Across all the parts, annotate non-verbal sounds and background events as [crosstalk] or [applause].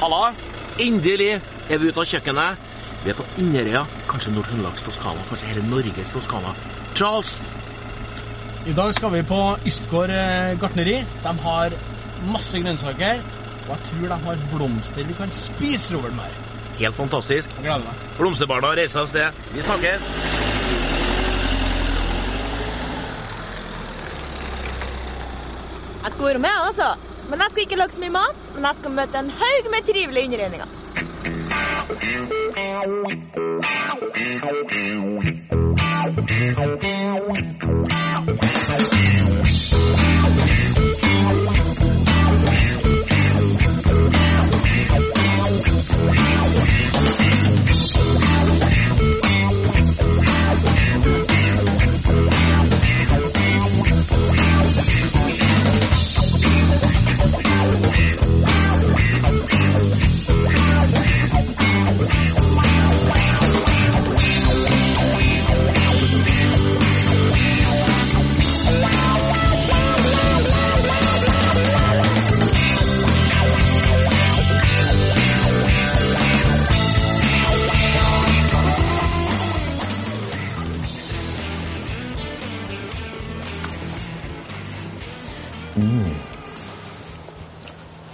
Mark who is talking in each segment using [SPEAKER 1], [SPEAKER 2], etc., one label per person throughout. [SPEAKER 1] Halla! Endelig er vi ute av kjøkkenet. Vi er på Inderøya, kanskje Nord-Trøndelags Toskana, kanskje hele Norges Toskana. Charles,
[SPEAKER 2] I dag skal vi på Ystgård eh, gartneri. De har masse grønnsaker. Og jeg tror de har blomster vi kan spise, Robert Mær.
[SPEAKER 1] helt fantastisk.
[SPEAKER 2] Jeg gleder meg.
[SPEAKER 1] Blomsterbarna reiser av sted. Vi snakkes.
[SPEAKER 3] Jeg skal være med, altså. Men jeg skal ikke lage så mye mat. Men jeg skal møte en haug med trivelige innredninger.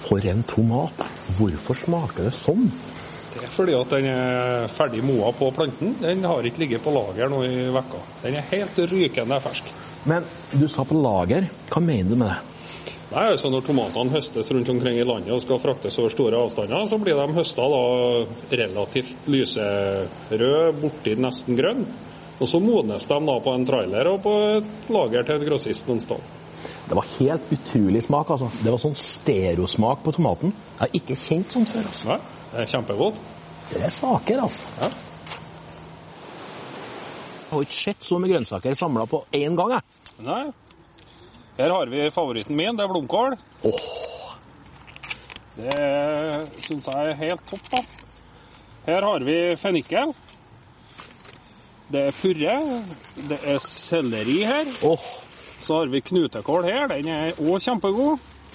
[SPEAKER 4] For en tomat! Hvorfor smaker det sånn?
[SPEAKER 5] Det er fordi at den er ferdig moa på planten. Den har ikke ligget på lager nå i vekka. Den er helt rykende fersk.
[SPEAKER 4] Men du sa på lager. Hva mener du med det?
[SPEAKER 5] Det er jo sånn Når tomatene høstes rundt omkring i landet og skal fraktes over store avstander, så blir de høsta da relativt lyserøde, borti nesten grønn. Og så modnes de da på en trailer og på et lager til en grossist noen sted.
[SPEAKER 4] Det var helt utrolig smak, altså. Det var sånn stereosmak på tomaten. Jeg har ikke kjent sånn før, altså.
[SPEAKER 5] Nei, det er kjempegodt.
[SPEAKER 4] Det er saker, altså.
[SPEAKER 5] Ja.
[SPEAKER 4] Jeg har ikke sett så mye grønnsaker samla på én gang, jeg.
[SPEAKER 5] Nei. Her har vi favoritten min, det er blomkål. Det syns jeg er helt topp, da. Her har vi fennikel. Det er purre. Det er selleri her.
[SPEAKER 4] Åh,
[SPEAKER 5] Så har vi knutekål her. Den er òg kjempegod.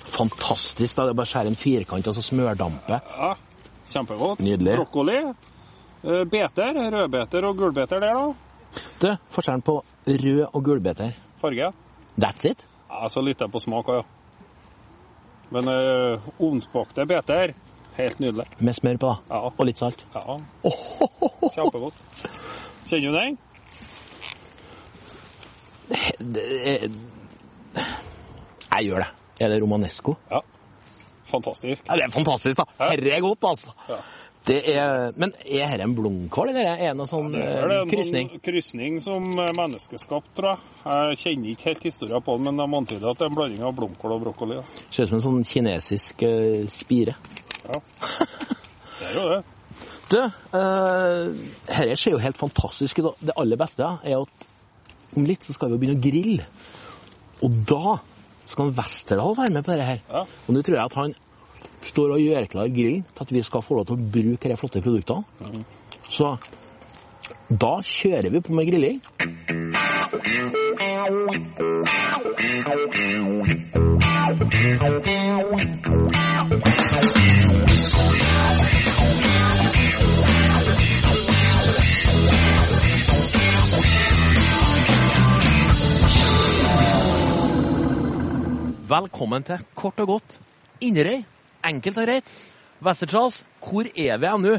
[SPEAKER 4] fantastisk. da. Det er bare å skjære en firkant og så smørdampe.
[SPEAKER 5] Ja, kjempegodt.
[SPEAKER 4] Nydelig.
[SPEAKER 5] Brokkoli. eh, Beter. Rødbeter og gulbeter der, da.
[SPEAKER 4] Du, forskjellen på rød og gulbeter.
[SPEAKER 5] Farge.
[SPEAKER 4] That's it?
[SPEAKER 5] Ja, så litt på smak òg, ja. Men uh, ovnsbakte beter, helt nydelig.
[SPEAKER 4] Med smør på, da.
[SPEAKER 5] Ja.
[SPEAKER 4] Og litt salt.
[SPEAKER 5] Ja,
[SPEAKER 4] Åhåhåhå.
[SPEAKER 5] kjempegodt. Kjenner du den?
[SPEAKER 4] Det er- Jeg gjør det. Er det romanesco?
[SPEAKER 5] Fantastisk.
[SPEAKER 4] Ja, det er fantastisk, da.
[SPEAKER 5] Ja.
[SPEAKER 4] Herre er godt, altså.
[SPEAKER 5] Ja.
[SPEAKER 4] Det er, men er dette en blomkål, eller er det en sånn
[SPEAKER 5] Det
[SPEAKER 4] eh,
[SPEAKER 5] er vel en
[SPEAKER 4] krysning?
[SPEAKER 5] sånn krysning som er menneskeskapt, tror jeg. Jeg kjenner ikke helt historien på den, men de antyder at det er en blanding av blomkål og brokkoli. Ja.
[SPEAKER 4] Ser ut som en sånn kinesisk eh, spire.
[SPEAKER 5] Det er jo det.
[SPEAKER 4] Du, uh, dette ser jo helt fantastisk ut. og Det aller beste ja, er at om litt så skal vi jo begynne å grille. Og da skal han Westerdal være med på dette her.
[SPEAKER 5] Ja.
[SPEAKER 4] Og nå tror jeg at han står og gjør klar grillen til at vi skal få lov til å bruke de flotte produktene. Så da kjører vi på med grilling. Velkommen til Kort og godt Inderøy. Enkelt og greit. Wester-Charles, hvor er vi nå?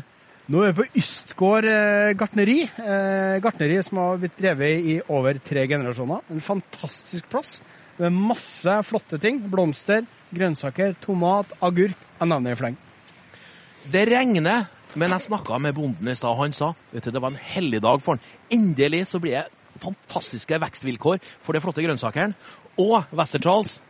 [SPEAKER 2] Nå er vi på Ystgård eh, gartneri. Eh, gartneri som har blitt drevet i over tre generasjoner. En fantastisk plass med masse flotte ting. Blomster, grønnsaker, tomat, agurk. Jeg nevner det i fleng.
[SPEAKER 1] Det regner, men jeg snakka med bonden i stad, og han sa vet du, det var en hellig dag for han. Endelig så blir det fantastiske vekstvilkår for de flotte grønnsakene. Og Wester-Charles,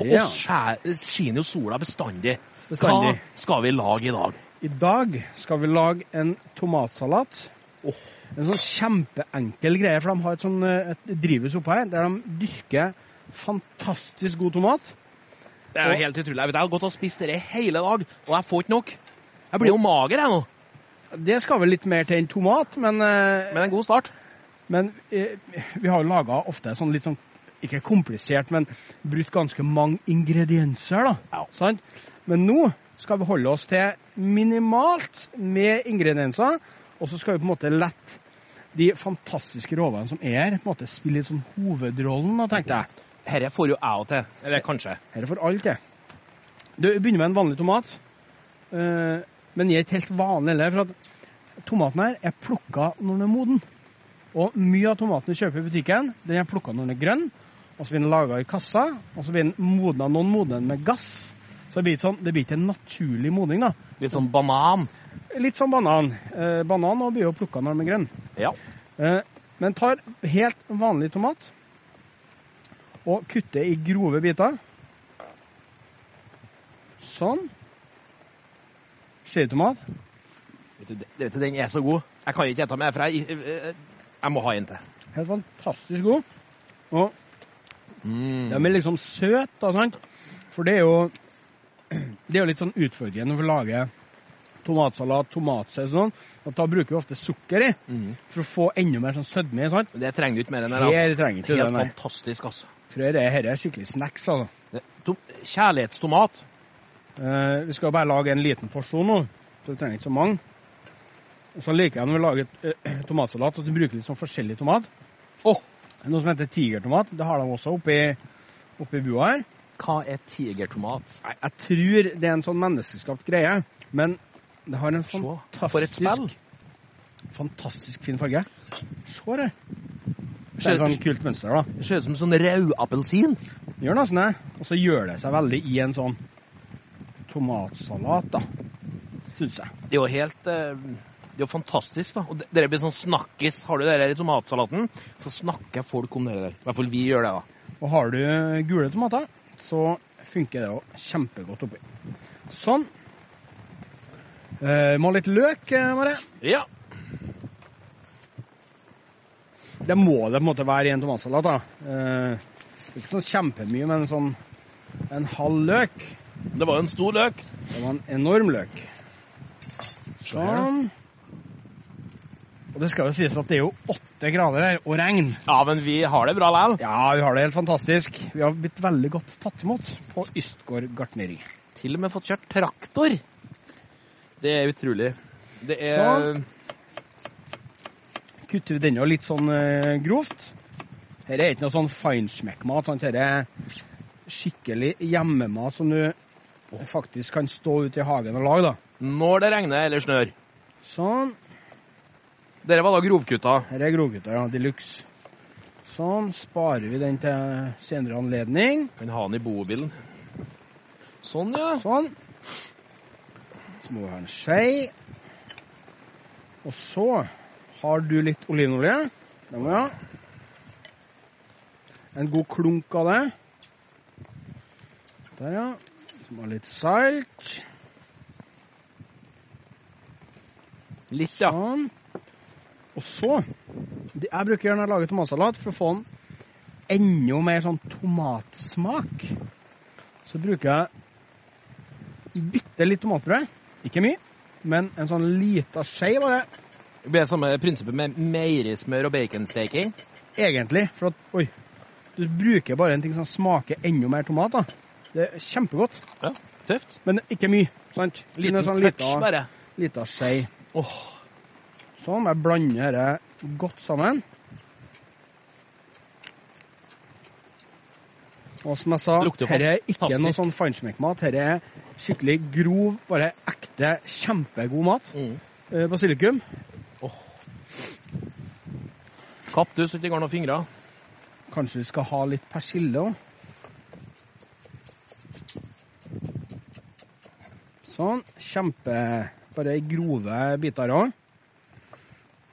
[SPEAKER 1] på
[SPEAKER 2] Ja.
[SPEAKER 1] oss skjæ- skinner jo sola bestandig.
[SPEAKER 2] Bestandig.
[SPEAKER 1] Hva skal vi lage i dag?
[SPEAKER 2] I dag skal vi lage en tomatsalat. En sånn kjempeenkel greie, for de har et, sånn, eh, et drivhus oppå her der de dyrker fantastisk god tomat.
[SPEAKER 1] Det er jo
[SPEAKER 2] Og-
[SPEAKER 1] helt utrolig. Jeg, vet, jeg har gått og spist dette hele dag, og jeg får ikke nok. Jeg blir jo mager jeg nå,
[SPEAKER 2] Det skal vel litt mer til enn tomat, men, eh,
[SPEAKER 1] men en god start.
[SPEAKER 2] men eh, vi har jo laga ofte sånn litt sånn ikke komplisert, men brukt ganske mange ingredienser, da.
[SPEAKER 1] Ja.
[SPEAKER 2] Sant? Men nå skal vi holde oss til minimalt med ingredienser, og så skal vi på en måte lette de fantastiske råvarene som er her, på en måte spille litt som hovedrollen, da, tenkte jeg.
[SPEAKER 1] Dette får jo jeg til. Eller kanskje.
[SPEAKER 2] Her er for alt, det. Du begynner med en vanlig tomat, eh, men den er ikke helt vanlig heller. For at tomaten her er plukka når den er moden. Og mye av tomaten du kjøper i butikken, den er plukka når den er grønn. Og så blir den laga i kassa, og så blir den modna noen modner den med gass. Så det blir, ikke sånn, det blir ikke en naturlig modning, da.
[SPEAKER 1] Litt sånn banan.
[SPEAKER 2] Litt som banan. Eh, banan også blir jo plukka når den er grønn.
[SPEAKER 1] Ja.
[SPEAKER 2] Eh, men tar helt vanlig tomat og kutter i grove biter. Sånn. Cherrytomat.
[SPEAKER 1] Vet du, det- vet du, den er så god. Jeg kan ikke ete mer, for jeg, jeg, eh, jeg må ha en til.
[SPEAKER 2] Helt fantastisk god. Og
[SPEAKER 1] Mm.
[SPEAKER 2] de er liksom søt, da, sant? For det er jo [clears throat] det er jo litt sånn utfordrende for å lage tomatsalat, tomatsaus og sånn. At da bruker vi ofte sukker i
[SPEAKER 1] Mm.
[SPEAKER 2] for å få enda mer sånn sødme. i, sant?
[SPEAKER 1] Det trenger du ikke mer enn her. Altså.
[SPEAKER 2] Her trenger ikke du
[SPEAKER 1] Helt
[SPEAKER 2] det, nei.
[SPEAKER 1] fantastisk, altså.
[SPEAKER 2] Tror jeg det her er skikkelig snacks, altså.
[SPEAKER 1] Det- Tom, kjærlighetstomat.
[SPEAKER 2] Eh, vi skal jo bare lage en liten porsjon nå, så vi trenger ikke så mange. Og så liker jeg når vi lager eh, [clears throat] tomatsalat, at vi bruker litt sånn forskjellig tomat.
[SPEAKER 1] Åh!
[SPEAKER 2] Det er Noe som heter tigertomat. Det har de også oppi, oppi bua her.
[SPEAKER 1] Hva er tigertomat?
[SPEAKER 2] Nei, jeg tror det er en sånn menneskeskapt greie, men det har en
[SPEAKER 1] Se,
[SPEAKER 2] fantastisk,
[SPEAKER 1] for et spill.
[SPEAKER 2] fantastisk fin farge. Se her. Det
[SPEAKER 1] Ser
[SPEAKER 2] er et sånn kult mønster, da.
[SPEAKER 1] ser ut som sånn rødappelsin.
[SPEAKER 2] Gjør nesten det. Og så gjør det seg veldig i en sånn tomatsalat, da. Syns jeg.
[SPEAKER 1] Det er jo helt eh, Det er jo fantastisk, da. Og det- dere blir sånn snakkis. Har du det der i tomatsalaten, så snakker folk om det der. I hvert fall vi gjør det, da.
[SPEAKER 2] Og har du gule tomater, så funker det jo kjempegodt oppi. Sånn. Eh, må ha litt løk, eh, Mare.
[SPEAKER 1] Ja.
[SPEAKER 2] Det må det på en måte være i en tomatsalat. da. Eh, ikke sånn kjempemye, men sånn en halv løk.
[SPEAKER 1] Det var jo en stor løk.
[SPEAKER 2] Det var en enorm løk. Sånn. Og det skal jo sies at det er jo åtte grader her, og regn.
[SPEAKER 1] Ja, men vi har det bra likevel.
[SPEAKER 2] Ja, vi har det helt fantastisk. Vi har blitt veldig godt tatt imot på Ystgård gartneri.
[SPEAKER 1] Til og med fått kjørt traktor. Det er utrolig. Det er
[SPEAKER 2] Så. kutter vi denne litt sånn eh, grovt. Her er ikke noe sånn feinschmeck-mat. sant? Her er skikkelig hjemmemat som du faktisk kan stå ute i hagen og lage. da.
[SPEAKER 1] når det regner eller snør.
[SPEAKER 2] Sånn.
[SPEAKER 1] Dere var da grovkutta.
[SPEAKER 2] Her er grovgutta, ja. De luxe. Sånn. Sparer vi den til senere anledning.
[SPEAKER 1] Kan ha den i bobilen. Sånn, ja.
[SPEAKER 2] Sånn. Så må vi ha en skje. Og så har du litt olivenolje. Det må vi ha. En god klunk av det. Der, ja. Så må vi ha litt salt.
[SPEAKER 1] Litt, ja.
[SPEAKER 2] Sånn. Og så det- Jeg bruker gjerne å lage tomatsalat for å få en enda mer sånn tomatsmak. Så bruker jeg bitte litt tomatbrød. Ikke mye, men en sånn lita skje bare.
[SPEAKER 1] Det blir samme prinsippet med meierismør og baconsteking.
[SPEAKER 2] Egentlig. For at Oi. Du bruker bare en ting som smaker enda mer tomat. da. Det er kjempegodt,
[SPEAKER 1] Tøft.
[SPEAKER 2] men ikke mye. sant? Men en
[SPEAKER 1] Liten
[SPEAKER 2] sånn
[SPEAKER 1] touch,
[SPEAKER 2] lita-
[SPEAKER 1] bare.
[SPEAKER 2] lita skje.
[SPEAKER 1] Åh,
[SPEAKER 2] Sånn, jeg blander dette godt sammen. Og som jeg sa,
[SPEAKER 1] Det lukter
[SPEAKER 2] dette er ikke
[SPEAKER 1] fantastisk.
[SPEAKER 2] noe sånn feinschmeck-mat. Dette er skikkelig grov, bare ekte, kjempegod mat.
[SPEAKER 1] Mm.
[SPEAKER 2] Eh, Basilikum.
[SPEAKER 1] Kaptus, så ikke det går noen fingre.
[SPEAKER 2] Kanskje vi skal ha litt persille òg. Sånn. Kjempe Bare i grove biter òg.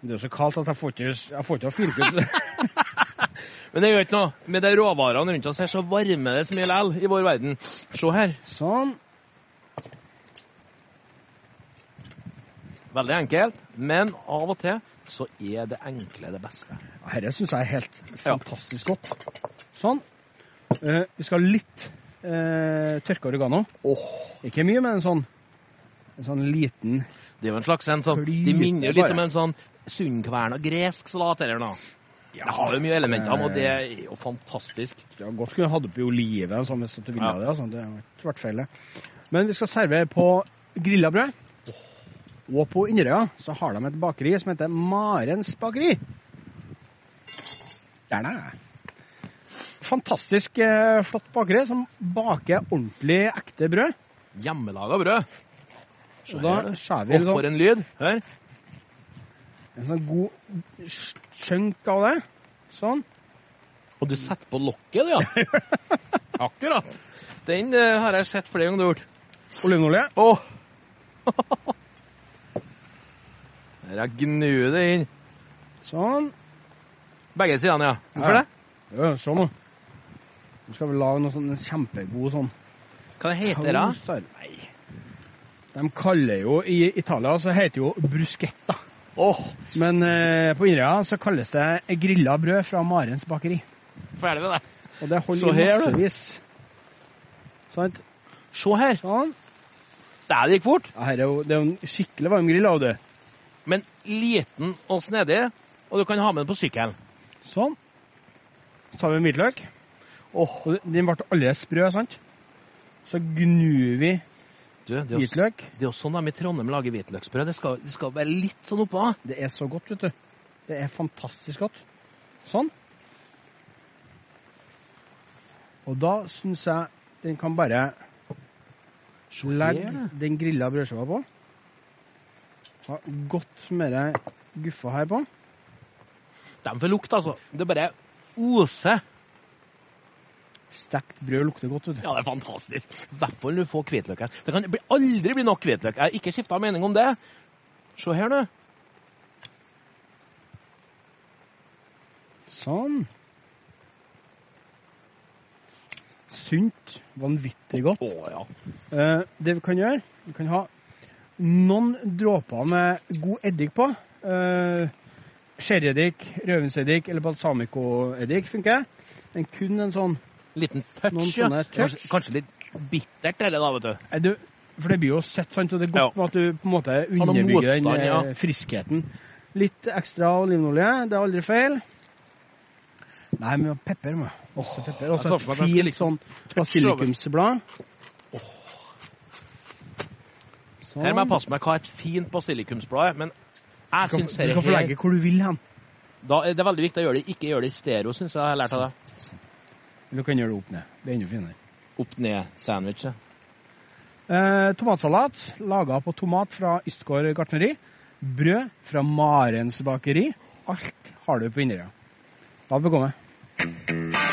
[SPEAKER 2] Det er jo så kaldt at jeg får ikke, jeg får ikke
[SPEAKER 1] [laughs]
[SPEAKER 2] fylt ut
[SPEAKER 1] Men det gjør ikke noe. Med de råvarene rundt oss her, så varmer det så mye likevel i vår verden. Se her.
[SPEAKER 2] Sånn.
[SPEAKER 1] Veldig enkelt. Men av og til så er det enkle det beste.
[SPEAKER 2] Ja, Dette syns jeg er helt
[SPEAKER 1] Ja.
[SPEAKER 2] fantastisk godt. Sånn. Eh, vi skal ha litt eh, tørka oregano. Ikke mye, men en sånn, en sånn liten
[SPEAKER 1] Det er jo en slags en sånn De
[SPEAKER 2] Flyt,
[SPEAKER 1] minner jo litt
[SPEAKER 2] bare.
[SPEAKER 1] om en sånn sundkvern og gresk salat, eller noe. Det har jo mye elementer, og det er jo fantastisk.
[SPEAKER 2] Ja, godt kunne jeg hatt oppi oliven sånn, hvis at du ville
[SPEAKER 1] Ja.
[SPEAKER 2] det. Altså. Det har ikke vært feil. det. Men vi skal servere på grilla brød. Og på Inderøya så har de et bakeri som heter Marens bakeri. Gjerne. Fantastisk eh, flott bakeri som baker ordentlig ekte brød.
[SPEAKER 1] Hjemmelaga brød.
[SPEAKER 2] Og da skjærer vi
[SPEAKER 1] Og
[SPEAKER 2] sånn
[SPEAKER 1] for en lyd. Hør.
[SPEAKER 2] En sånn god skjønk av det. Sånn.
[SPEAKER 1] Og du setter på lokket, du, ja. [laughs] Akkurat. Den eh, har jeg sett flere ganger du har gjort.
[SPEAKER 2] Olivenolje.
[SPEAKER 1] Åh! Jeg gnur det inn.
[SPEAKER 2] Sånn.
[SPEAKER 1] Begge sidene, ja. Hvorfor
[SPEAKER 2] Ja.
[SPEAKER 1] det?
[SPEAKER 2] Ja, se nå. Nå skal vi lage noe sånn en kjempegod sånn
[SPEAKER 1] Hva det heter det?
[SPEAKER 2] Toaster. Nei. De kaller jo I Italia så heter jo bruschetta.
[SPEAKER 1] Åh,
[SPEAKER 2] Men eh, på Inderøya så kalles det grilla brød fra Marens bakeri.
[SPEAKER 1] ferdig med det.
[SPEAKER 2] Og det
[SPEAKER 1] Så
[SPEAKER 2] holder i
[SPEAKER 1] her, du.
[SPEAKER 2] massevis. Sant?
[SPEAKER 1] Se her.
[SPEAKER 2] Sånn.
[SPEAKER 1] Der det gikk fort.
[SPEAKER 2] Ja, her er jo, det er jo en skikkelig varm grill. av det.
[SPEAKER 1] Men liten og snedig, og du kan ha med den på sykkelen.
[SPEAKER 2] Sånn. Så tar vi hvitløk. Og den ble allerede sprø, sant? Så gnur vi
[SPEAKER 1] Du, det er jo,
[SPEAKER 2] hvitløk.
[SPEAKER 1] det er jo sånn de i Trondheim lager hvitløksbrød. Det skal, det skal være litt sånn oppå.
[SPEAKER 2] Det er så godt, vet du. Det er fantastisk godt. Sånn. Og da syns jeg den kan bare legge
[SPEAKER 1] her,
[SPEAKER 2] den grilla brødskiva på. Ha godt med det guffa her på.
[SPEAKER 1] De får lukt, altså. Det bare oser.
[SPEAKER 2] Stekt brød lukter godt, vet du.
[SPEAKER 1] Ja, det er fantastisk. I hvert fall når du får hvitløken. Det kan bli- aldri bli nok hvitløk. Jeg har ikke skifta mening om det. Se her nå.
[SPEAKER 2] Sånn. Sunt. Vanvittig godt.
[SPEAKER 1] Å ja.
[SPEAKER 2] Eh, det vi kan gjøre, vi kan ha noen dråper med god eddik på. Eh, Sherryeddik, rødvinseddik eller balsamicoeddik funker. Men kun en sånn
[SPEAKER 1] Liten touch,
[SPEAKER 2] Noen
[SPEAKER 1] ja.
[SPEAKER 2] sånne touch.
[SPEAKER 1] Kanskje- Kanskje litt bittert, eller da, vet du.
[SPEAKER 2] Nei, du, For det blir jo søtt, sant? Og det er godt med at du på en måte
[SPEAKER 1] noe
[SPEAKER 2] underbygger den
[SPEAKER 1] motstand, ja.
[SPEAKER 2] eh, friskheten. Litt ekstra olivenolje, det er aldri feil. Nei, men pepper må jeg. Også pepper.
[SPEAKER 1] jeg
[SPEAKER 2] Også
[SPEAKER 1] så
[SPEAKER 2] et
[SPEAKER 1] for meg at jeg liksom skulle
[SPEAKER 2] fint sånn basilikumsblad. Sånn.
[SPEAKER 1] Her må jeg passe meg hva et fint basilikumsblad er, men jeg
[SPEAKER 2] Du
[SPEAKER 1] syns
[SPEAKER 2] skal, du
[SPEAKER 1] dette
[SPEAKER 2] skal få legge hvor du vil hen.
[SPEAKER 1] da er Det er veldig viktig å gjøre det ikke gjøre det i stereo, syns jeg jeg har lært av det.
[SPEAKER 2] Eller du kan gjøre det opp ned. Det er enda finere.
[SPEAKER 1] Opp-ned-sandwich. ja.
[SPEAKER 2] Eh, tomatsalat laga på tomat fra Ystgård gartneri. Brød fra Marens bakeri. Alt har du på Inderøya. La det bekomme.